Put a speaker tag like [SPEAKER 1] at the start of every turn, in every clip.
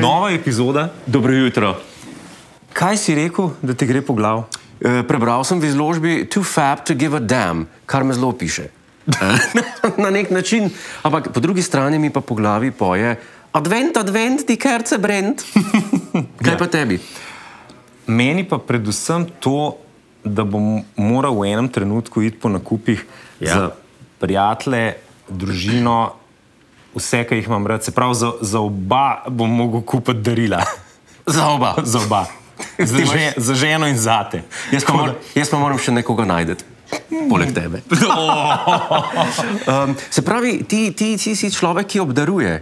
[SPEAKER 1] Nova epizoda, dobro jutro.
[SPEAKER 2] Kaj si rekel, da ti gre po glavu?
[SPEAKER 3] Eh, Prebral sem v izložbi Too Fab to Give a Damn, kar me zelo piše. Na nek način, ampak po drugi strani mi pa po glavi poje Advent, Advent, ti kerce brend. Kaj pa tebi?
[SPEAKER 1] Meni pa predvsem to, da bom moral v enem trenutku iti po nakupih ja. za prijatelje, družino, vse, kar jih imam rad. Se pravi, za, za oba bom mogel kupiti darila.
[SPEAKER 3] Za oba.
[SPEAKER 1] za oba. Za, že, za ženo in zate.
[SPEAKER 3] Jaz pa, mor, jaz pa moram še nekoga najti. Poleg tebe. um, se pravi, ti, ti, ti si človek, ki obdaruje.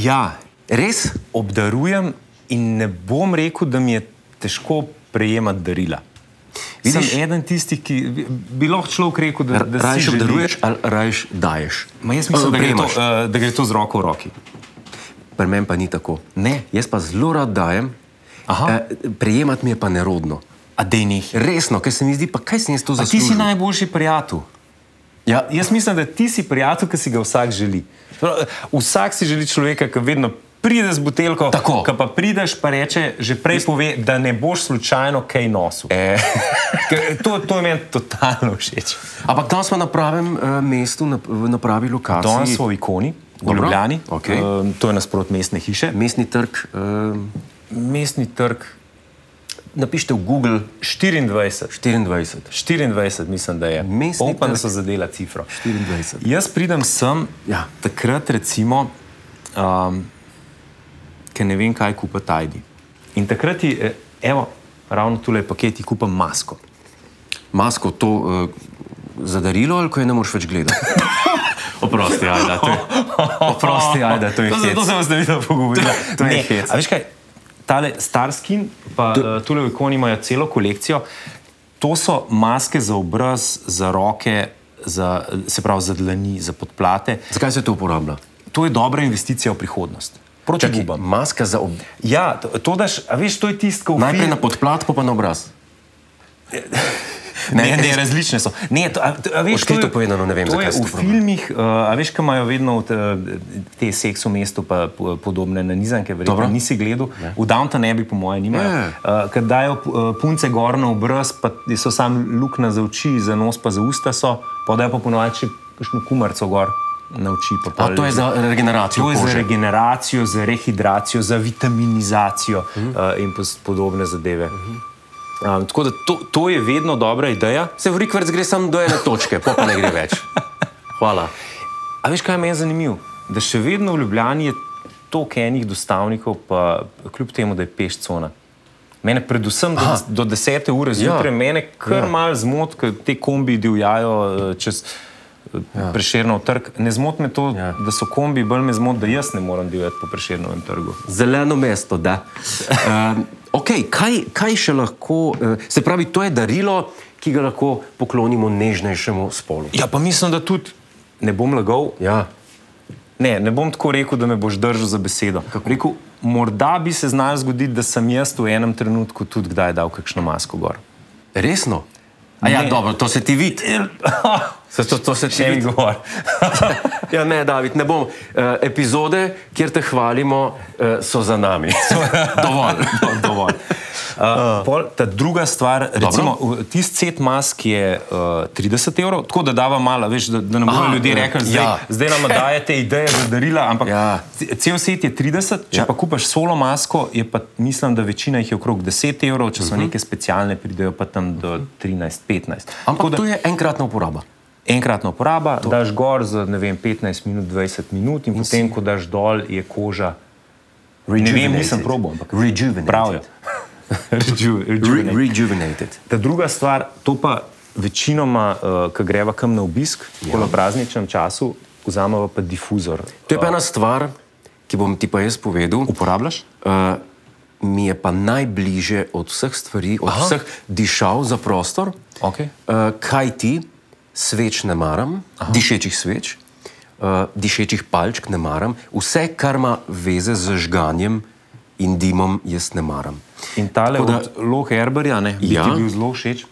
[SPEAKER 1] Ja,
[SPEAKER 3] Res?
[SPEAKER 1] obdarujem in ne bom rekel, da mi je težko prejemati darila. Vidiš,
[SPEAKER 3] Vidiš?
[SPEAKER 1] Sem eden tistih, ki bi- bi lahko človek rekel, da,
[SPEAKER 3] R-
[SPEAKER 1] da si
[SPEAKER 3] Rajš
[SPEAKER 1] želi-
[SPEAKER 3] obdaruješ ali rajš daješ?
[SPEAKER 1] Ma jaz mislim, da gre, to,
[SPEAKER 3] Prejemaš.
[SPEAKER 1] eh, da gre to z roko v roki.
[SPEAKER 3] Pri meni pa ni tako.
[SPEAKER 1] Ne.
[SPEAKER 3] Jaz pa zelo rad dajem,
[SPEAKER 1] Aha.
[SPEAKER 3] eh, prejemati mi je pa nerodno.
[SPEAKER 1] A dejnih.
[SPEAKER 3] Resno, ker se mi zdi, pa kaj sem jaz to
[SPEAKER 1] Ti si
[SPEAKER 3] zaslužil.
[SPEAKER 1] najboljši prijatelj.
[SPEAKER 3] Ja,
[SPEAKER 1] Jaz mislim, da ti si prijatelj, ki si ga vsak želi. Prav, eh, Vsak si želi človeka, ki vedno pride z butelko,
[SPEAKER 3] Tako.
[SPEAKER 1] ki pa prideš, pa reče, že prej pove, da ne boš slučajno kaj nosil. E. to, to je meni totalno všeč.
[SPEAKER 3] ampak tam smo na pravem uh, mestu, na, v- na pravi lokaciji.
[SPEAKER 1] Danes smo v ikoni, v
[SPEAKER 3] Dobro,
[SPEAKER 1] Ljubljani,
[SPEAKER 3] okej.
[SPEAKER 1] Ehm, to je nasprot mestne hiše.
[SPEAKER 3] Mestni trg, uh,
[SPEAKER 1] Mestni trg
[SPEAKER 3] napišite v Google
[SPEAKER 1] 24.
[SPEAKER 3] 24.
[SPEAKER 1] 24, mislim, da je.
[SPEAKER 3] Mestni
[SPEAKER 1] Upam, da
[SPEAKER 3] trg.
[SPEAKER 1] so zadela cifro.
[SPEAKER 3] 24.
[SPEAKER 1] Jaz pridem sem
[SPEAKER 3] Ja.
[SPEAKER 1] takrat, recimo, um, ker ne vem, kaj kupa Tajdi. In takrat ti, eh, evo, ravno tule je paket, ti kupam masko.
[SPEAKER 3] Masko to uh, zadarilo, ali ko je ne moreš več gledati?
[SPEAKER 1] Oprosti, ajda, to je.
[SPEAKER 3] Oprosti, ajda, to je
[SPEAKER 1] to,
[SPEAKER 3] hec.
[SPEAKER 1] zato sem vas ne videl pogovorila.
[SPEAKER 3] To je
[SPEAKER 1] Ne,
[SPEAKER 3] hec.
[SPEAKER 1] A veš kaj, tale Starskin, pa uh, tule v ikoni imajo celo kolekcijo. To so maske za obraz, za roke, za, eh, se pravi za dlani, za podplate.
[SPEAKER 3] Zakaj se to uporablja?
[SPEAKER 1] To je dobra investicija v prihodnost. Proti
[SPEAKER 3] Čakaj,
[SPEAKER 1] gubam.
[SPEAKER 3] maska za ob...
[SPEAKER 1] Ja, to, to daš, a veš, to je tisto, kar
[SPEAKER 3] Najprej na podplat, pa pa na obraz.
[SPEAKER 1] Ne, ne, ne, različne so. Ne, to, a, to, a veš,
[SPEAKER 3] Odkrito
[SPEAKER 1] to je-
[SPEAKER 3] povedano, ne vem,
[SPEAKER 1] to
[SPEAKER 3] zakaj
[SPEAKER 1] je
[SPEAKER 3] se to
[SPEAKER 1] v
[SPEAKER 3] proba.
[SPEAKER 1] filmih, uh, a veš, kaj imajo vedno v te, te seks v mestu, pa po- podobne na nizanke, verjetno
[SPEAKER 3] Dobro. Ja.
[SPEAKER 1] nisi gledal. Ne. V Downton ne bi, po mojem, nimajo.
[SPEAKER 3] Ne.
[SPEAKER 1] Uh, Ker dajo uh, punce gor na obraz, pa so sam luknja za oči, za nos, pa za usta so, pa dajo pa ponoči kakšno kumarco gor na oči. pa
[SPEAKER 3] A
[SPEAKER 1] pol-
[SPEAKER 3] to je za regeneracijo
[SPEAKER 1] To je za
[SPEAKER 3] kože.
[SPEAKER 1] regeneracijo, za rehidracijo, za vitaminizacijo mm. uh, in pos- podobne zadeve. Mm. Um, tako da to, to je vedno dobra ideja.
[SPEAKER 3] Se v Rikverc gre samo do ene točke, pol pa ne gre več. Hvala.
[SPEAKER 1] A veš, kaj je meni zanimivo? Da še vedno v Ljubljani je toliko enih dostavnikov, pa kljub temu, da je peš cona. Mene predvsem do, do 10. ure zjutraj, ja. mene kar ja. malo zmoti, ker te kombi divjajo eh, čez ja. preširno trg. Ne zmoti me to, ja.
[SPEAKER 3] Ja.
[SPEAKER 1] da so kombi, bolj me zmoti, da jaz ne morem divjati po preširnem trgu.
[SPEAKER 3] Zeleno mesto, da. Um, okay, kaj, kaj še lahko, uh, se pravi, to je darilo, ki ga lahko poklonimo nežnejšemu spolu.
[SPEAKER 1] Ja, pa mislim, da tudi ne bom lagal.
[SPEAKER 3] Ja.
[SPEAKER 1] Ne, ne bom tako rekel, da me boš držal za besedo. Kako? Rekel, morda bi se znalo zgoditi, da sem jaz v enem trenutku tudi kdaj dal kakšno masko gor.
[SPEAKER 3] Resno? A ja,
[SPEAKER 1] Ne.
[SPEAKER 3] dobro, to se ti vidi. Se to, to se ti
[SPEAKER 1] Če mi
[SPEAKER 3] vidi.
[SPEAKER 1] govor.
[SPEAKER 3] Ja, ne, David, ne bom. Uh, epizode, kjer te hvalimo, uh, so za nami. Dovolj.
[SPEAKER 1] Dovolj. Uh, pol, ta druga stvar, recimo, v- tisti set mask je uh, 30 evrov, tako da dava malo, veš, da, da ne bodo
[SPEAKER 3] Aha,
[SPEAKER 1] ljudje
[SPEAKER 3] ja.
[SPEAKER 1] rekli, zdaj, ja.
[SPEAKER 3] Ja.
[SPEAKER 1] zdaj nam dajete ideje za darila, ampak ja.
[SPEAKER 3] Ja.
[SPEAKER 1] cel set je 30, če ja.
[SPEAKER 3] Ja.
[SPEAKER 1] pa kupaš solo masko, je pa, mislim, da večina jih je okrog 10 evrov, če
[SPEAKER 3] Mhm.
[SPEAKER 1] so uh -huh. neke specialne, pridejo pa tam do 13-15. Tako
[SPEAKER 3] Ampak
[SPEAKER 1] da-
[SPEAKER 3] to je enkratna uporaba.
[SPEAKER 1] Enkratna uporaba, to. daš gor za ne vem, 15 minut, 20 minut, in, in potem, ko daš dol, je koža. Ne vem, nisem probal, ampak
[SPEAKER 3] Rejuvenated.
[SPEAKER 1] pravijo. Reju-
[SPEAKER 3] Re
[SPEAKER 1] rejuvenate.
[SPEAKER 3] rejuvenated.
[SPEAKER 1] Ta druga stvar, to pa večinoma, uh, ko greva kam na obisk, ja. po prazničnem času, vzamemo pa difuzor.
[SPEAKER 3] To je pa ena stvar, ki bom ti pa jaz povedal.
[SPEAKER 1] Uporabljaš?
[SPEAKER 3] Uh, mi je pa najbližje od vseh stvari, od Aha. vseh dišav za prostor.
[SPEAKER 1] Okej.
[SPEAKER 3] Uh, kaj ti, sveč ne maram, Aha. dišečih sveč, eh, uh, dišečih palčk ne maram, vse, kar ima veze z žganjem in dimom jaz ne maram.
[SPEAKER 1] In tale
[SPEAKER 3] Tako da-
[SPEAKER 1] od Loherberja je
[SPEAKER 3] Ja.
[SPEAKER 1] ja. bil zelo všeč,
[SPEAKER 3] To-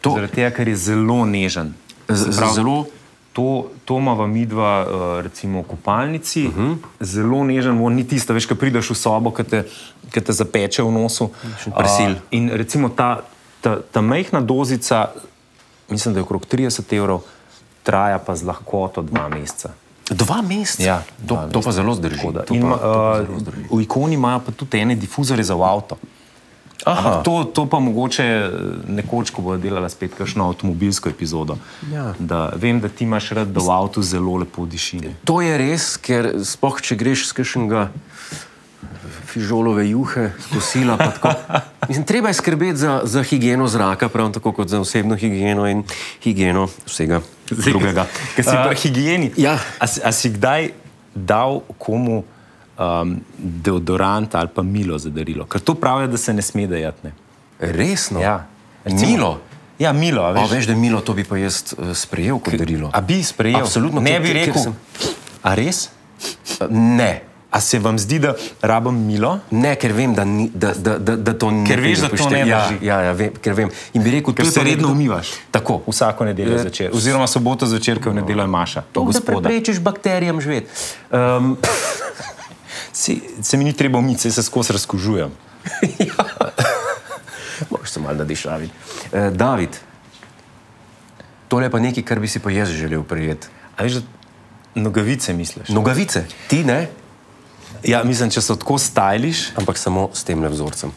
[SPEAKER 1] to... zaradi tega, ker je zelo nežen.
[SPEAKER 3] Z-
[SPEAKER 1] Se pravi,
[SPEAKER 3] zelo-
[SPEAKER 1] To, to imamo mi dva, eh, recimo v kopalnici, uh -huh. zelo nežen, on ni tisto, veš, ki prideš v sobo, ki te, ki te zapeče v nosu.
[SPEAKER 3] Presil.
[SPEAKER 1] A, in recimo ta, ta, ta majhna dozica, mislim, da je okrog 30 evrov, traja pa z lahkoto dva meseca.
[SPEAKER 3] Dva meseca.
[SPEAKER 1] Ja,
[SPEAKER 3] to,
[SPEAKER 1] dva
[SPEAKER 3] to pa
[SPEAKER 1] meseca.
[SPEAKER 3] zelo zdrži.
[SPEAKER 1] Tako da-
[SPEAKER 3] To
[SPEAKER 1] In,
[SPEAKER 3] pa,
[SPEAKER 1] ma,
[SPEAKER 3] to pa
[SPEAKER 1] eh,
[SPEAKER 3] zelo zdrži.
[SPEAKER 1] v ikoni imajo pa tudi ene difuzore za v avto.
[SPEAKER 3] Aha.
[SPEAKER 1] Ampak To, to pa mogoče eh, nekoč, ko bo delala spet kakšno avtomobilsko epizodo.
[SPEAKER 3] Ja.
[SPEAKER 1] Da, vem, da ti imaš rad, da v avtu zelo lepo diši. ne.
[SPEAKER 3] To je res, ker spoh, če greš z kakšnega fižolove juhe, kosila. pa tako. Mislim, treba je skrbeti za, za higieno zraka, prav tako kot za osebno higieno in higieno vsega Zdaj, drugega.
[SPEAKER 1] Ker si
[SPEAKER 3] A,
[SPEAKER 1] pri higieni.
[SPEAKER 3] ja.
[SPEAKER 1] A, si- a si kdaj dal komu um, deodorant ali pa milo za darilo? Ker to pravijo, da se ne sme dajati. Ne? No.
[SPEAKER 3] Resno.
[SPEAKER 1] Recimo-
[SPEAKER 3] no? Milo.
[SPEAKER 1] Ja, milo. a
[SPEAKER 3] A
[SPEAKER 1] Veš,
[SPEAKER 3] veš, da milo to bi pa jaz eh, sprejel kot darilo.
[SPEAKER 1] A bi sprejel?
[SPEAKER 3] Absolutno,
[SPEAKER 1] Ne
[SPEAKER 3] ker-
[SPEAKER 1] bi
[SPEAKER 3] ker- ker
[SPEAKER 1] rekel.
[SPEAKER 3] sem-
[SPEAKER 1] A res?
[SPEAKER 3] Ne.
[SPEAKER 1] A se vam zdi, da rabim milo?
[SPEAKER 3] Ne, ker vem, da, ni, da, da, da, da to ne
[SPEAKER 1] Ker veš,
[SPEAKER 3] pride
[SPEAKER 1] da to
[SPEAKER 3] pošte-
[SPEAKER 1] ne
[SPEAKER 3] ja,
[SPEAKER 1] drži.
[SPEAKER 3] ja, ja, vem, ker vem. In bi rekel,
[SPEAKER 1] Ker
[SPEAKER 3] to je
[SPEAKER 1] se
[SPEAKER 3] pa
[SPEAKER 1] redno
[SPEAKER 3] nekdo-
[SPEAKER 1] umivaš.
[SPEAKER 3] Tako.
[SPEAKER 1] Vsako nedeljo
[SPEAKER 3] Ja.
[SPEAKER 1] zvečer, oziroma soboto zvečer, ko je v nedeljo je maša.
[SPEAKER 3] no. To, da
[SPEAKER 1] gospoda.
[SPEAKER 3] preprečiš bakterijam živeti. Um,
[SPEAKER 1] Si, se mi ni treba umiti, saj se skozi razkužujem.
[SPEAKER 3] Moš se malo nadišaviti. Uh, David, tole je pa nekaj, kar bi si pa jaz želel prijeti.
[SPEAKER 1] A veš, da nogavice misliš?
[SPEAKER 3] Nogavice, ti ne,
[SPEAKER 1] Ja, mislim, če se tako stajliš,
[SPEAKER 3] ampak samo s tem vzorcem.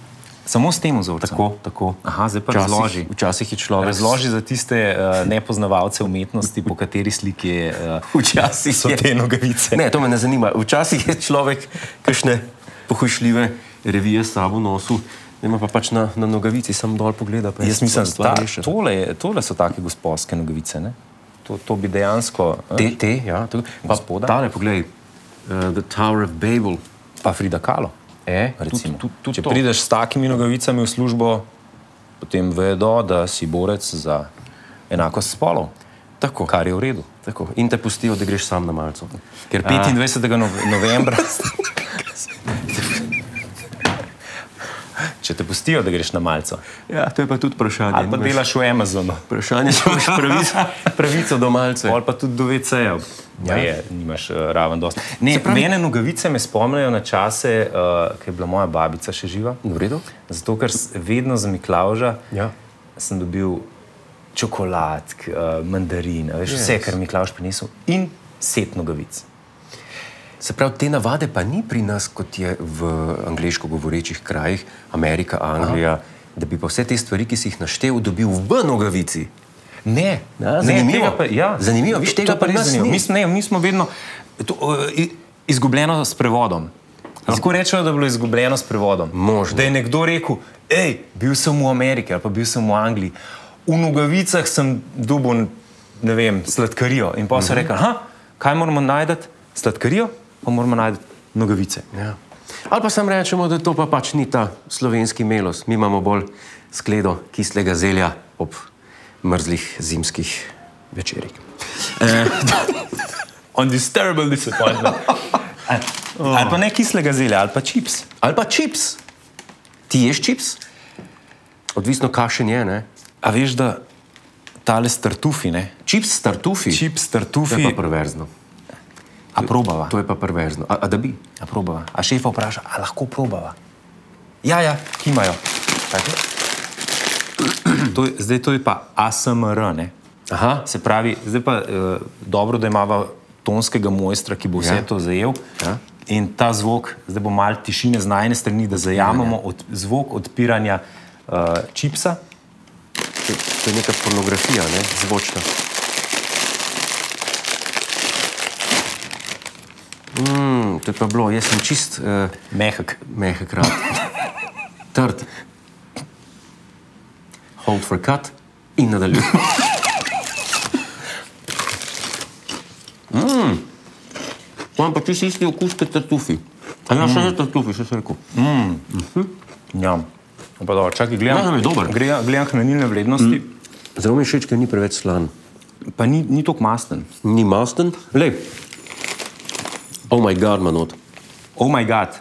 [SPEAKER 1] samo s tem vzorcem.
[SPEAKER 3] Tako, tako.
[SPEAKER 1] Aha, zdaj pa
[SPEAKER 3] Včasih- Ja.
[SPEAKER 1] razloži.
[SPEAKER 3] Včasih je človek.
[SPEAKER 1] Razloži za tiste uh, nepoznavalce umetnosti, po kateri sliki je, uh,
[SPEAKER 3] Včasih
[SPEAKER 1] so
[SPEAKER 3] je.
[SPEAKER 1] te nogavice.
[SPEAKER 3] Ne, to me ne zanima. Včasih je človek kakšne pohušljive revije s sabo nosil, ne ima pa pač na, na nogavici, sam dol pogleda. pa je
[SPEAKER 1] Jaz mislim, da
[SPEAKER 3] stvar
[SPEAKER 1] ta,
[SPEAKER 3] rešena.
[SPEAKER 1] tole, je- tole so take gospodske nogavice. Ne? To, to bi dejansko. eh?
[SPEAKER 3] Te, te, ja, to, pa
[SPEAKER 1] Gospoda.
[SPEAKER 3] Tale, poglej, uh, The Tower of Babel.
[SPEAKER 1] Pa Frida Kalo.
[SPEAKER 3] E,
[SPEAKER 1] recimo.
[SPEAKER 3] Tudi, tudi, tudi
[SPEAKER 1] Če
[SPEAKER 3] to.
[SPEAKER 1] prideš s takimi nogavicami v službo, potem vedo, da si borec za enakost spolov. Tako. Kar je v redu.
[SPEAKER 3] Tako. In te pustijo, da greš sam na malce.
[SPEAKER 1] Ker 25. Nove novembra. Če te pustijo, da greš na malce,
[SPEAKER 3] Ja, to je pa tudi vprašanje.
[SPEAKER 1] ali pa delaš v Amazonu,
[SPEAKER 3] Vprašanje, če imaš pravico, pravico do malce.
[SPEAKER 1] ali pa tudi do VC-jev. Ja. Je, nimaš eh, raven dosti. Ne, pravi... Mene nogavice me spomnijo na čase, uh, ko je bila moja babica še živa.
[SPEAKER 3] V redu?
[SPEAKER 1] Zato, ker s- vedno z Miklauža
[SPEAKER 3] Ja.
[SPEAKER 1] sem dobil čokoladk, uh, mandarin, a veš, yes. vse, kar mi Miklauž prinesel, in set nogavic.
[SPEAKER 3] Se pravi, te navade pa ni pri nas, kot je v angliško govorečih krajih, Amerika, Anglija, Aha. da bi pa vse te stvari, ki si jih naštel, dobil v nogavici.
[SPEAKER 1] Ne,
[SPEAKER 3] Ja,
[SPEAKER 1] ne,
[SPEAKER 3] zanimivo.
[SPEAKER 1] tega Pa, ja.
[SPEAKER 3] Zanimivo, viš,
[SPEAKER 1] To-
[SPEAKER 3] tega
[SPEAKER 1] to
[SPEAKER 3] pa
[SPEAKER 1] res
[SPEAKER 3] nas
[SPEAKER 1] zanimivo.
[SPEAKER 3] ni.
[SPEAKER 1] Mi, smo- ne, mi smo vedno to, uh, izgubljeno s prevodom. Lahko rečemo, da je bilo izgubljeno s prevodom.
[SPEAKER 3] Možno.
[SPEAKER 1] Da je nekdo rekel, hej, bil sem v Ameriki ali pa bil sem v Angliji, v nogavicah sem dubo, ne vem, sladkarijo. In pa so rekli, "Aha, kaj moramo najti? Sladkarijo, pa moramo najti nogavice.
[SPEAKER 3] Ja. Ali pa sam rečemo, da to pa pač ni ta slovenski melos. Mi imamo bolj skledo kislega zelja ob mrzlih zimskih večerih.
[SPEAKER 1] Undisturbable disappointment. Ali, ali pa ne kislega zelja, ali pa čips.
[SPEAKER 3] Ali pa čips. Ti ješ čips? Odvisno, kakšen je. Ne?
[SPEAKER 1] A veš, da tale strtufi, ne?
[SPEAKER 3] Čips s tartufi.
[SPEAKER 1] Čips,
[SPEAKER 3] To je
[SPEAKER 1] tartufi,
[SPEAKER 3] pa perverzno.
[SPEAKER 1] a probava.
[SPEAKER 3] To je pa perverzno. A, a da bi?
[SPEAKER 1] A probava. A šefa vpraša, a lahko probava. Ja, ja, kimajo. Tako. To je, zdaj to je pa ASMR, ne?
[SPEAKER 3] Aha.
[SPEAKER 1] Se pravi, zdaj pa eh, dobro, da imamo tonskega mojstra, ki bo vse
[SPEAKER 3] Ja.
[SPEAKER 1] ja. to zajel.
[SPEAKER 3] Ja.
[SPEAKER 1] In ta zvok, zdaj bo malo tišine z najne strani, da zajamemo
[SPEAKER 3] Ja.
[SPEAKER 1] od, zvok odpiranja uh, čipsa.
[SPEAKER 3] To, to je neka pornografija, ne? zvočna. Mm, to je pa bilo, jaz sem čist uh,
[SPEAKER 1] Mehak.
[SPEAKER 3] mehek rad. Trd. Hold for cut in nadaljuj. Mm. Imam pa čisto isti okus kot tartufi. A ja, še ne tartufi, še sem rekel.
[SPEAKER 1] Ja. Pa dobro, čakaj,
[SPEAKER 3] Ja, nam
[SPEAKER 1] gledam,
[SPEAKER 3] je dober.
[SPEAKER 1] gre- gledam hranilne vrednosti, mm.
[SPEAKER 3] Zelo mi všeč, ker ni preveč slan.
[SPEAKER 1] pa ni, ni tako masten.
[SPEAKER 3] Ni masten. Lej. Oh, moj bog, manot.
[SPEAKER 1] Oh, moj bog.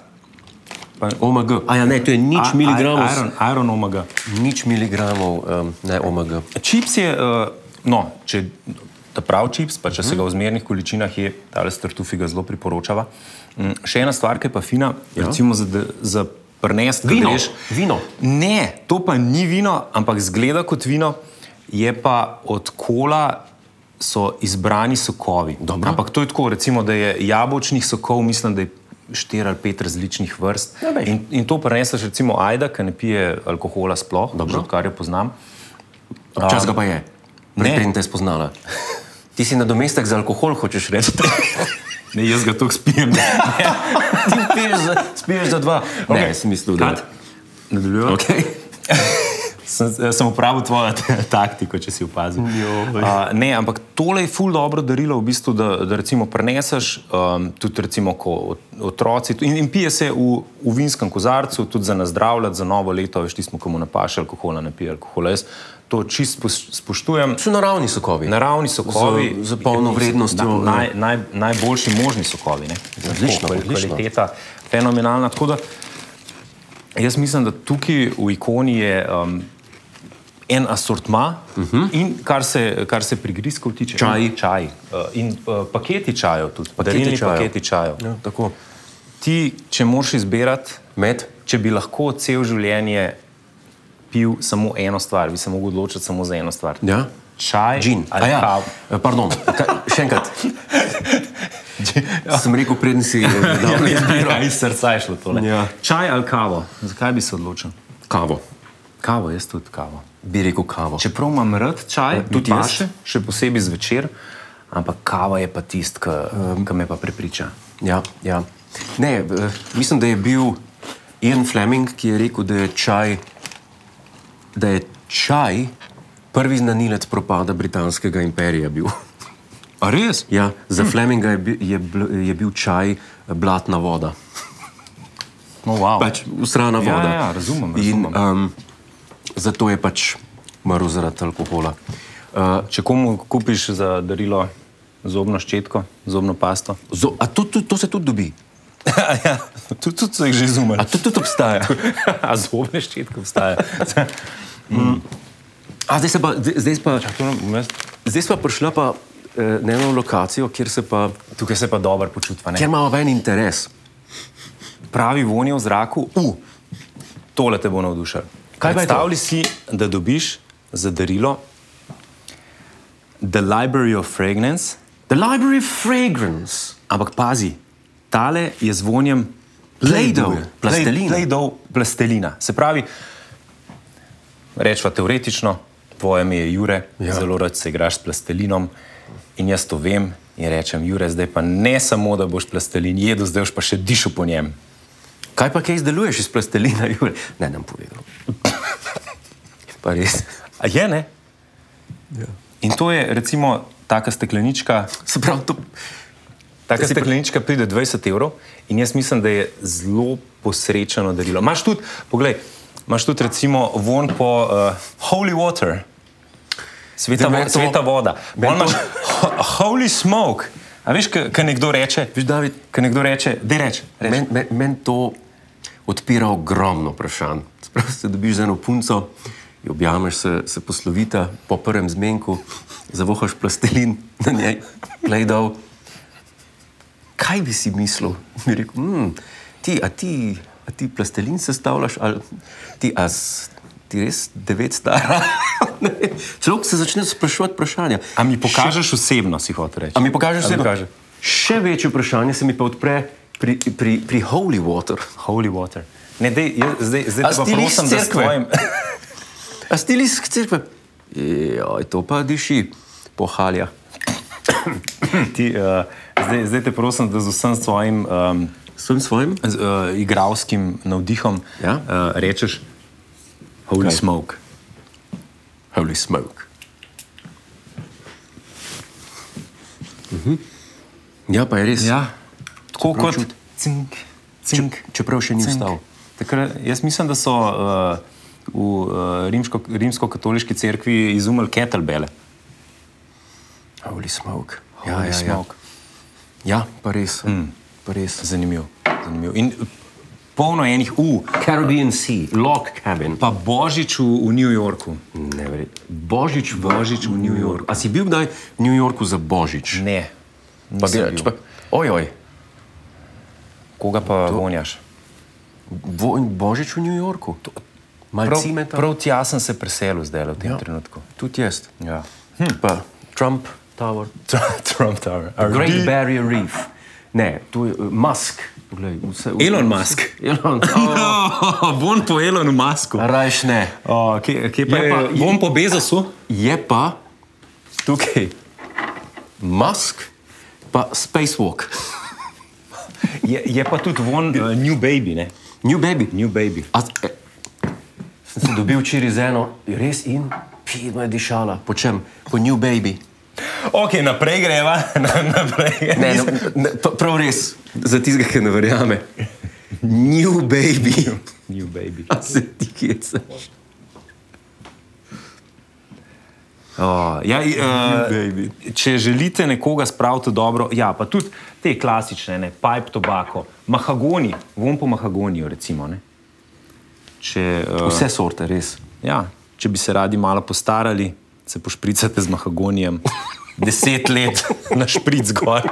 [SPEAKER 1] Pa,
[SPEAKER 3] OMG. A ja, ne, to je nič miligramov.
[SPEAKER 1] A- Iron, Iron oh omega.
[SPEAKER 3] Nič miligramov, um, ne OMG.
[SPEAKER 1] Čips je, uh, no, če ta prav čips, pa če
[SPEAKER 3] Mhm.
[SPEAKER 1] se ga v zmernih količinah je, ta startufi ga zelo priporočava. Mm, še ena stvar, ki je pa fina, ja. recimo za, de- za prnest, ki
[SPEAKER 3] Vino,
[SPEAKER 1] greš.
[SPEAKER 3] vino.
[SPEAKER 1] Ne, to pa ni vino, ampak zgleda kot vino, je pa od kola. So izbrani sokovi. Dobro. Ampak to je tako, recimo, da je jabolčnih sokov, mislim, da je štiri ali pet različnih vrst.
[SPEAKER 3] bej.
[SPEAKER 1] In, in to preneseš, recimo, Aida, ki ne pije alkohola sploh, že odkar jo poznam.
[SPEAKER 3] Čas ga pa je.
[SPEAKER 1] Ne.
[SPEAKER 3] Preden te je spoznala. Ti si nadomestek za alkohol, hočeš reči.
[SPEAKER 1] Ne, jaz ga tako spijem.
[SPEAKER 3] Ti piješ za, spiješ za dva. Ne,
[SPEAKER 1] Okej.
[SPEAKER 3] okay. sem mislil, da
[SPEAKER 1] Kat, Nadaljujem.
[SPEAKER 3] Okay.
[SPEAKER 1] Sem, eh, sem uporabil tvojo taktiko, če si opazil. Uh, ne, ampak tole je ful dobro darilo, v bistvu, da, da recimo preneseš, um, tudi recimo, ko ot- otroci. In, in pije se v, v vinskem kozarcu, tudi za nazdravljati, za novo leto, veš, tisto, komu napaše alkohola, ne pije alkohola. Jaz to čist spoš- spoštujem.
[SPEAKER 3] So naravni sokovi.
[SPEAKER 1] Naravni sokovi.
[SPEAKER 3] Za- za polno vrednostjo,
[SPEAKER 1] Na, naj,
[SPEAKER 3] ja.
[SPEAKER 1] naj, najboljši možni sokovi. Ne?
[SPEAKER 3] Odlično,
[SPEAKER 1] Tako,
[SPEAKER 3] odlično.
[SPEAKER 1] Kvaliteta fenomenalna. Tako da, jaz mislim, da tukaj v ikoni je um, en asortma uh
[SPEAKER 3] Mhm.
[SPEAKER 1] -huh. in kar se, kar se prigrizkov tiče.
[SPEAKER 3] Čaji.
[SPEAKER 1] Čaj. Uh, in uh, paketi čajev tudi.
[SPEAKER 3] Paketi
[SPEAKER 1] Darilni
[SPEAKER 3] čajev.
[SPEAKER 1] Paketi čajev. Ja.
[SPEAKER 3] Ja, tako.
[SPEAKER 1] Ti, če moraš izbirati,
[SPEAKER 3] Med.
[SPEAKER 1] če bi lahko cel življenje pil samo eno stvar, bi se mogel odločiti samo za eno stvar.
[SPEAKER 3] Ja.
[SPEAKER 1] Čaj,
[SPEAKER 3] Gin. A
[SPEAKER 1] ali
[SPEAKER 3] Ja.
[SPEAKER 1] kavo.
[SPEAKER 3] Eh, Pardon, Kaj, še enkrat. Sem rekel, preden si eh, dal izbiro.
[SPEAKER 1] Ja, iz srca je šlo tole.
[SPEAKER 3] Ja.
[SPEAKER 1] Čaj ali kavo? Zakaj bi se odločil?
[SPEAKER 3] Kavo.
[SPEAKER 1] Kavo, jaz tudi kavo.
[SPEAKER 3] Bi rekel kavo.
[SPEAKER 1] Čeprav imam rad čaj,
[SPEAKER 3] Ja, tudi
[SPEAKER 1] tudi
[SPEAKER 3] jaz.
[SPEAKER 1] jaz, še posebej zvečer, ampak kava je pa tisto, ki um. me pa prepriča.
[SPEAKER 3] Ja, ja. Ne, eh, mislim, da je bil Ian Fleming, ki je rekel, da je čaj, da je čaj prvi znanilec propada britanskega imperija bil.
[SPEAKER 1] A res?
[SPEAKER 3] Ja, za
[SPEAKER 1] Hm.
[SPEAKER 3] hmm. Fleminga je bil, je, bl- je bil čaj eh, blatna voda.
[SPEAKER 1] No, wow.
[SPEAKER 3] Pač usrana
[SPEAKER 1] Ja,
[SPEAKER 3] voda.
[SPEAKER 1] ja, ja, razumem, razumem.
[SPEAKER 3] In, um, zato je pač umrl zaradi alkohola. Uh,
[SPEAKER 1] Če komu kupiš za darilo zobno ščetko, zobno pasto,
[SPEAKER 3] zo, a to, to, to se tudi dobi,
[SPEAKER 1] ja, tudi, tudi so jih že izumili.
[SPEAKER 3] a to tudi obstaja.
[SPEAKER 1] A zobne ščetke obstaja.
[SPEAKER 3] A, zdaj, se pa, zdaj, zdaj, pa,
[SPEAKER 1] Tukaj
[SPEAKER 3] zdaj sva prišla pa eh, na eno lokacijo, kjer, se pa,
[SPEAKER 1] se pa dobro počutim.
[SPEAKER 3] kjer imamo en interes.
[SPEAKER 1] pravi vonje v zraku, u, tole te bo navdušil.
[SPEAKER 3] Kaj pa je to?
[SPEAKER 1] Predstavljaj si, da dobiš za darilo The Library of Fragrance,
[SPEAKER 3] The Library of Fragrance.
[SPEAKER 1] ampak pazi, tale je z vonjem
[SPEAKER 3] Play-Doh, plastelina.
[SPEAKER 1] Plejdov, plastelina. Se pravi, rečva teoretično, tvoje ime je Jure, ja.
[SPEAKER 3] Ja.
[SPEAKER 1] zelo rad se igraš s plastelinom in jaz to vem in rečem, Jure, zdaj pa ne samo, da boš plastelin jedel, zdaj boš pa še dišel po njem.
[SPEAKER 3] Kaj pa, kaj izdeluješ iz plastelina? Jure? Ne, nam povedal. pa res.
[SPEAKER 1] A je ne?
[SPEAKER 3] Ja.
[SPEAKER 1] In to je recimo taka steklenička,
[SPEAKER 3] Se pravi, to,
[SPEAKER 1] taka
[SPEAKER 3] si pri-
[SPEAKER 1] steklenička pride 20 evrov in jaz mislim, da je zelo posrečeno darilo. Imaš tudi, poglej, imaš tudi recimo von po uh, holy water, sveta,
[SPEAKER 3] Zdaj me
[SPEAKER 1] vo
[SPEAKER 3] to-
[SPEAKER 1] sveta voda,
[SPEAKER 3] me
[SPEAKER 1] pol
[SPEAKER 3] to-
[SPEAKER 1] imaš ho holy smoke. A veš, kaj nekdo reče,
[SPEAKER 3] viš, David,
[SPEAKER 1] kaj nekdo reče, da reče.
[SPEAKER 3] Meni men, men to odpira ogromno vprašanj. Spravi se, dobiš z eno punco, jo objameš, se, se poslovita po prvem zmenku, zavohaš plastelin na njej, plejdal. Kaj bi si mislil? Mi rekel, mm, ti, a ti, a ti plastelin sestavljaš, ali ti, a s- ti res devet stara? Ne. Človek se začne sprašovati vprašanja.
[SPEAKER 1] A mi pokažeš osebno, si hotel reči.
[SPEAKER 3] A mi pokažeš
[SPEAKER 1] A mi
[SPEAKER 3] vse?
[SPEAKER 1] pokaže?
[SPEAKER 3] Še večje vprašanje se mi pa odpre pri, pri, pri Holy Water.
[SPEAKER 1] Holy water. Ne, dej, jaz, zdaj, zdaj
[SPEAKER 3] A
[SPEAKER 1] te pa
[SPEAKER 3] si ti list
[SPEAKER 1] prosim, da s
[SPEAKER 3] cerkve?
[SPEAKER 1] tvojim...
[SPEAKER 3] A stili iz crkve? Joj, to pa diši pohalja.
[SPEAKER 1] Ti, uh, zdaj, zdaj te prosim, da z vsem svojim um,
[SPEAKER 3] Svojim svojim?
[SPEAKER 1] z, uh, igravskim navdihom
[SPEAKER 3] Ja?
[SPEAKER 1] uh, rečeš: Holy
[SPEAKER 3] Kaj?
[SPEAKER 1] Kaj? smoke.
[SPEAKER 3] Holy smoke. Mhm. Ja, pa je res.
[SPEAKER 1] Ja, tako
[SPEAKER 3] Čeprav
[SPEAKER 1] kot
[SPEAKER 3] čut-
[SPEAKER 1] cink, cink.
[SPEAKER 3] Čeprav še ni
[SPEAKER 1] cink.
[SPEAKER 3] vstal.
[SPEAKER 1] Takrat, jaz mislim, da so uh, v uh, rimsko, rimsko-katoliški cerkvi izumili kettlebele.
[SPEAKER 3] Holy smoke. Ja,
[SPEAKER 1] Holy
[SPEAKER 3] ja, ja.
[SPEAKER 1] smoke.
[SPEAKER 3] ja pa res. Mm. Pa res.
[SPEAKER 1] Zanimivo. Zanimiv. In polno enih U,
[SPEAKER 3] Caribbean Sea, log cabin.
[SPEAKER 1] pa Božič v, v New Yorku.
[SPEAKER 3] Neverjetno. Božič, Božič v New Yorku. A si bil kdaj v New Yorku za Božič?
[SPEAKER 1] Ne,
[SPEAKER 3] Pa bi
[SPEAKER 1] nisem
[SPEAKER 3] reč,
[SPEAKER 1] bil.
[SPEAKER 3] pa, ojoj,
[SPEAKER 1] koga pa vonjaš?
[SPEAKER 3] bo, Božič v New Yorku.
[SPEAKER 1] Prav,
[SPEAKER 3] Malci meta.
[SPEAKER 1] prav tja sem se preselil zdaj v tem
[SPEAKER 3] Ja.
[SPEAKER 1] ja. trenutku.
[SPEAKER 3] Tudi jaz.
[SPEAKER 1] Ja.
[SPEAKER 3] Hm. Pa Trump Tower.
[SPEAKER 1] Trump, Trump Tower.
[SPEAKER 3] Great
[SPEAKER 1] RD.
[SPEAKER 3] Barrier Reef. Ne, tu je uh, Musk. Glej, vse, vse,
[SPEAKER 1] Elon Musk.
[SPEAKER 3] Elon, oh,
[SPEAKER 1] Von po Elonu Masku.
[SPEAKER 3] rajš ne.
[SPEAKER 1] O, kje, kje pa
[SPEAKER 3] Je
[SPEAKER 1] je?
[SPEAKER 3] pa-
[SPEAKER 1] Von po Bezosu.
[SPEAKER 3] Je pa
[SPEAKER 1] Tukaj.
[SPEAKER 3] Musk, pa Spacewalk.
[SPEAKER 1] Je, je pa tudi von uh, New Baby, ne?
[SPEAKER 3] New Baby.
[SPEAKER 1] New Baby.
[SPEAKER 3] A, eh, sem se dobil včeraj z eno, res in pidno je dišala. Po čem? Po New Baby.
[SPEAKER 1] Ok, naprej greva. Na- naprej.
[SPEAKER 3] Ne, ne, ne, pa- prav res, za tistega, ki ne verjame. New Baby.
[SPEAKER 1] New Baby.
[SPEAKER 3] A se ti kecaš?
[SPEAKER 1] O, ja, i,
[SPEAKER 3] baby.
[SPEAKER 1] uh, če želite nekoga spraviti v dobro, ja, pa tudi te klasične, ne, pipe tobacco, mahagoni, von po mahagoniju, recimo. Ne? Če, uh,
[SPEAKER 3] Vse sorte, res.
[SPEAKER 1] ja, če bi se radi malo postarali, se pošpricate z mahagonijem. Deset let na špric gor.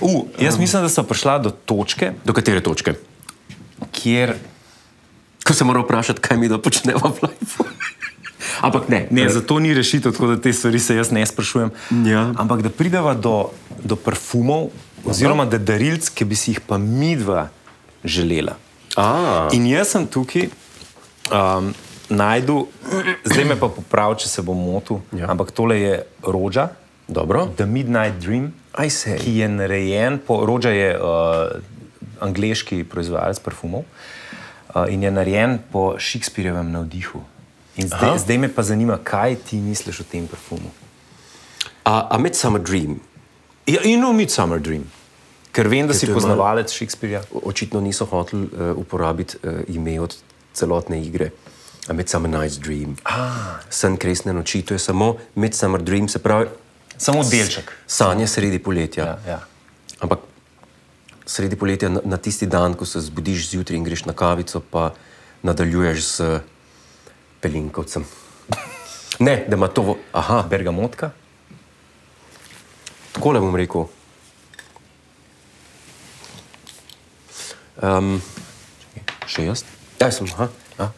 [SPEAKER 1] Uh, jaz mislim, da smo prišla do točke,
[SPEAKER 3] Do katere točke?
[SPEAKER 1] kjer
[SPEAKER 3] Ko se moram vprašati, kaj mi da počnemo v lifeu. Ampak ne,
[SPEAKER 1] Ne, zato ni rešitev, tako da te stvari se jaz ne sprašujem.
[SPEAKER 3] Ja.
[SPEAKER 1] Ampak da prideva do, do parfumov, oziroma do darilc, ki bi si jih pa midva želela.
[SPEAKER 3] A,
[SPEAKER 1] In jaz sem tukaj, um, najdu, zdaj me pa popravi, če se bom motil,
[SPEAKER 3] Ja.
[SPEAKER 1] ja. ampak tole je roža,
[SPEAKER 3] dobro.
[SPEAKER 1] The Midnight Dream,
[SPEAKER 3] Aj se.
[SPEAKER 1] ki je narejen, po, roža je uh, angliški proizvajalec parfumov uh, in je narejen po Shakespearjevem navdihu. In
[SPEAKER 3] Aha.
[SPEAKER 1] Zdaj, zdaj me pa zanima, kaj ti misliš o tem parfumu.
[SPEAKER 3] A, a Midsummer Dream.
[SPEAKER 1] Ja, in o Midsummer Dream, ker vem, da si
[SPEAKER 3] to je malo-
[SPEAKER 1] poznavalec Shakespearja.
[SPEAKER 3] O- Očitno niso hoteli uh, uporabiti uh, ime od celotne igre. A Midsummer Night's Dream. Ah. Sen kresne noči, to je samo Midsummer Dream, se pravi
[SPEAKER 1] Samo delček.
[SPEAKER 3] sanje sredi poletja.
[SPEAKER 1] Ja, ja.
[SPEAKER 3] Ampak sredi poletja, na, na tisti dan, ko se zbudiš zjutraj in greš na kavico, pa nadaljuješ s pelinkovcem. Ne, da ima to, vo- aha,
[SPEAKER 1] Bergamotka.
[SPEAKER 3] tako le bom rekel. Um, še jaz? Ja, sem, aha. A?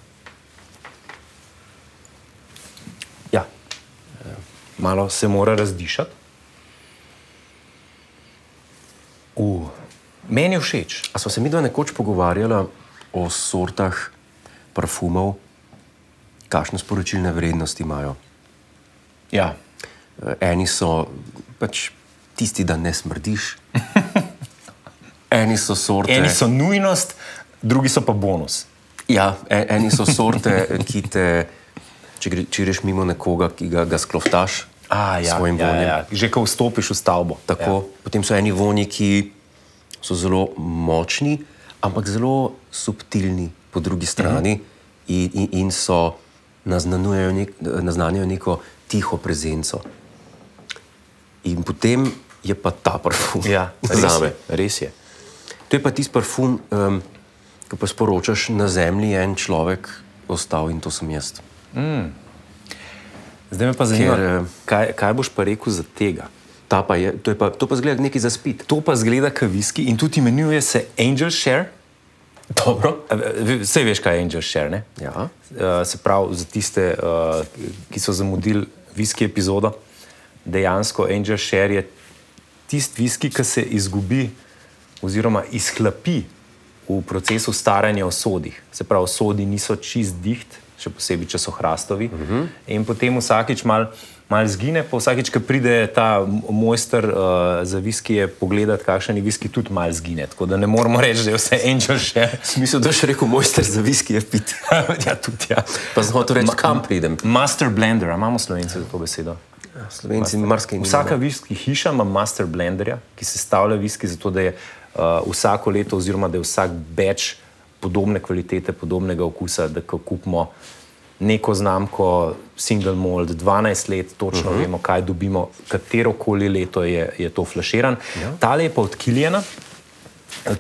[SPEAKER 1] Ja. Eh, Malo se mora razdišati. Uh. Meni je všeč.
[SPEAKER 3] A smo se mi dva nekoč pogovarjala o sortah parfumov, kakšne sporočilne vrednosti imajo?
[SPEAKER 1] Ja.
[SPEAKER 3] Eh, Eni so pač tisti, da ne smrdiš, eni so sorte.
[SPEAKER 1] Eni so nujnost, drugi so pa bonus.
[SPEAKER 3] Ja, e- eni so sorte, ki te, če, gre, če greš mimo nekoga, ki ga, ga skloftaš
[SPEAKER 1] ja,
[SPEAKER 3] s svojim vonjem.
[SPEAKER 1] Že ko vstopiš v stavbo.
[SPEAKER 3] Tako, ja. Potem so eni vonji, ki so zelo močni, ampak zelo subtilni po
[SPEAKER 1] Mhm.
[SPEAKER 3] drugi strani in, in, in so naznanjajo nek, naznanjajo neko tiho prezenco. In potem je pa ta parfum.
[SPEAKER 1] Ja,
[SPEAKER 3] za me.
[SPEAKER 1] res je.
[SPEAKER 3] To je pa tisti parfum, um, ki pa sporočaš na zemlji, je en človek ostal in to sem jaz.
[SPEAKER 1] Zdaj me pa zanima,
[SPEAKER 3] Ker,
[SPEAKER 1] Ker,
[SPEAKER 3] eh,
[SPEAKER 1] kaj, kaj boš pa rekel za tega?
[SPEAKER 3] Ta pa je, to, je pa, to pa zgleda nekaj za spit.
[SPEAKER 1] To pa zgleda kot viski in tudi imenuje se Angel Share.
[SPEAKER 3] Dobro.
[SPEAKER 1] Vse veš, kaj je Angel Share, ne?
[SPEAKER 3] Ja.
[SPEAKER 1] Eh, se pravi, za tiste, eh, ki so zamudili viski epizodo, dejansko Angel Share je tisti viski, ki se izgubi oziroma izhlapi v procesu staranja o sodih. Se pravi, sodi niso čist diht, še posebej, če so hrastovi. Uh
[SPEAKER 3] Mhm.
[SPEAKER 1] -huh. In potem vsakič malo mal zgine, pa vsakič, ko pride ta m- mojster uh, za viskije pogledati, kakšen je viski, tudi malo zgine. Tako da ne moremo reči, da je vse Angel Share.
[SPEAKER 3] Mislim, da še rekel mojster za viski je pit.
[SPEAKER 1] ja, tudi ja.
[SPEAKER 3] Pa sem hotel reči,
[SPEAKER 1] Ma-
[SPEAKER 3] kam pridem.
[SPEAKER 1] Master blender, a imamo slovenci za to besedo.
[SPEAKER 3] Slovenci marsikaj nimajo.
[SPEAKER 1] Vsaka viski hiša ima master blenderja, ki sestavlja viski, zato da je uh, vsako leto, oziroma da je vsak več podobne kvalitete, podobnega okusa, da ko kupimo neko znamko, single mold, 12 let, točno uh -huh. vemo, kaj dobimo, katero koli leto je, je to flaširan. Ja. Tale je pa odkiljena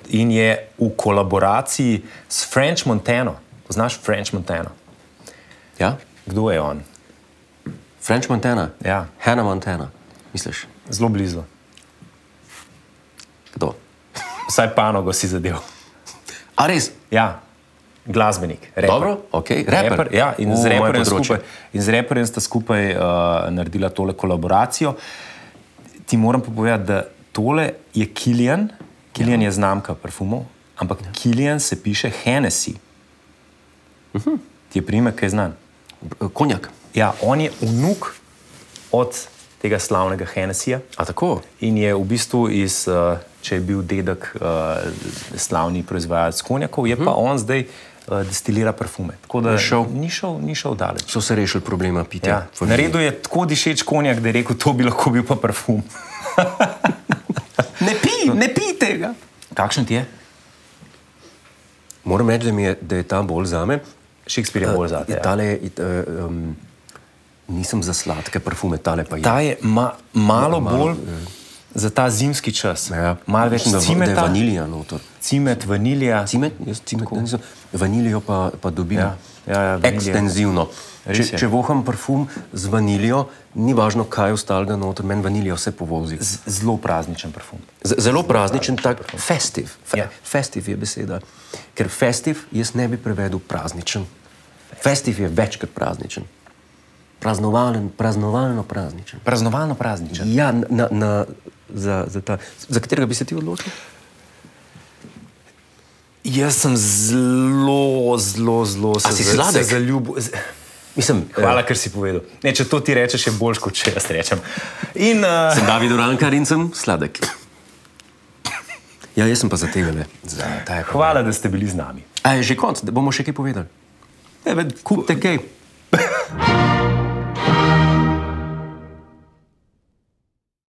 [SPEAKER 1] in je v kolaboraciji s French Montano. Poznaš French Montano?
[SPEAKER 3] Ja?
[SPEAKER 1] Kdo je on?
[SPEAKER 3] French Montana.
[SPEAKER 1] Ja.
[SPEAKER 3] Hannah Montana. Misliš,
[SPEAKER 1] Zelo blizu.
[SPEAKER 3] kdo?
[SPEAKER 1] Vsaj panogo si zadev.
[SPEAKER 3] A res?
[SPEAKER 1] Ja, glasbenik, reper.
[SPEAKER 3] Dobro, okej, raper.
[SPEAKER 1] Reper, ja, in,
[SPEAKER 3] U,
[SPEAKER 1] z
[SPEAKER 3] moje
[SPEAKER 1] reperjem
[SPEAKER 3] področje.
[SPEAKER 1] skupaj, in z reperjem sta skupaj uh, naredila tole kolaboracijo. Ti moram pa povedati, da tole je Kiljan, Kiljan ja. je znamka parfumov, ampak ja. Kiljan se piše Hennessy. Uh -huh. Ti je primek, ki je znan.
[SPEAKER 3] Konjak.
[SPEAKER 1] Ja, on je vnuk od tega slavnega Hennessyja.
[SPEAKER 3] A tako?
[SPEAKER 1] In je v bistvu iz, eh, če je bil dedek eh, slavni proizvajalec konjakov, je pa on zdaj eh, destilira parfume. Tako da
[SPEAKER 3] šel.
[SPEAKER 1] Mhm. ni šel, ni šel daleč.
[SPEAKER 3] So se rešili problema pitja.
[SPEAKER 1] Ja. Naredil je tako dišeč konjak, da je rekel, to bi lahko bil pa parfum.
[SPEAKER 3] Ne pi, ne pi tega.
[SPEAKER 1] Kakšen ti je?
[SPEAKER 3] Moram reči, da, mi je, da je ta bolj za me.
[SPEAKER 1] Shakespeare je bolj zate.
[SPEAKER 3] Eh,
[SPEAKER 1] Ja.
[SPEAKER 3] Tale, je, eh, um, nisem za sladke parfume, tale pa je.
[SPEAKER 1] Ta je ma, malo ja. bolj za ta zimski čas.
[SPEAKER 3] Ja.
[SPEAKER 1] Malo več
[SPEAKER 3] Mislim, da, va- da je
[SPEAKER 1] cimeta,
[SPEAKER 3] vanilija notor.
[SPEAKER 1] cimet, vanilija.
[SPEAKER 3] Cimet, jaz cimet ne nisem, vanilijo pa, pa dobim
[SPEAKER 1] Ja, ja, ja, vanilija.
[SPEAKER 3] ekstenzivno.
[SPEAKER 1] Res
[SPEAKER 3] Če,
[SPEAKER 1] je.
[SPEAKER 3] če voham parfum z vanilijo, ni važno, kaj je ostalega noter, meni vanilija vse povozi.
[SPEAKER 1] Z- Zelo prazničen parfum.
[SPEAKER 3] Z- Zelo prazničen, tako festiv. Fe,
[SPEAKER 1] Ja.
[SPEAKER 3] Festiv je beseda. Ker festiv jaz ne bi prevedel prazničen. Festiv je več kot prazničen. Praznovalen, praznovalno prazničen.
[SPEAKER 1] Praznovalno prazničen.
[SPEAKER 3] Ja, na, na, za, za, ta, za katerega bi se ti odločil?
[SPEAKER 1] Jaz sem zelo, zelo, zelo se
[SPEAKER 3] si
[SPEAKER 1] za-
[SPEAKER 3] sladek?
[SPEAKER 1] se zaljubil. z-
[SPEAKER 3] Mislim, eh,
[SPEAKER 1] Hvala, ker si povedal. Ne, če to ti rečeš, je bolj kot če jaz rečem. In, uh,
[SPEAKER 3] Sem David Orankar in sem sladek. Ja, jaz sem pa za tega le. Za ta je pa-
[SPEAKER 1] hvala, da ste bili z nami.
[SPEAKER 3] A je že konc, da bomo še kaj povedali. Kupite kaj.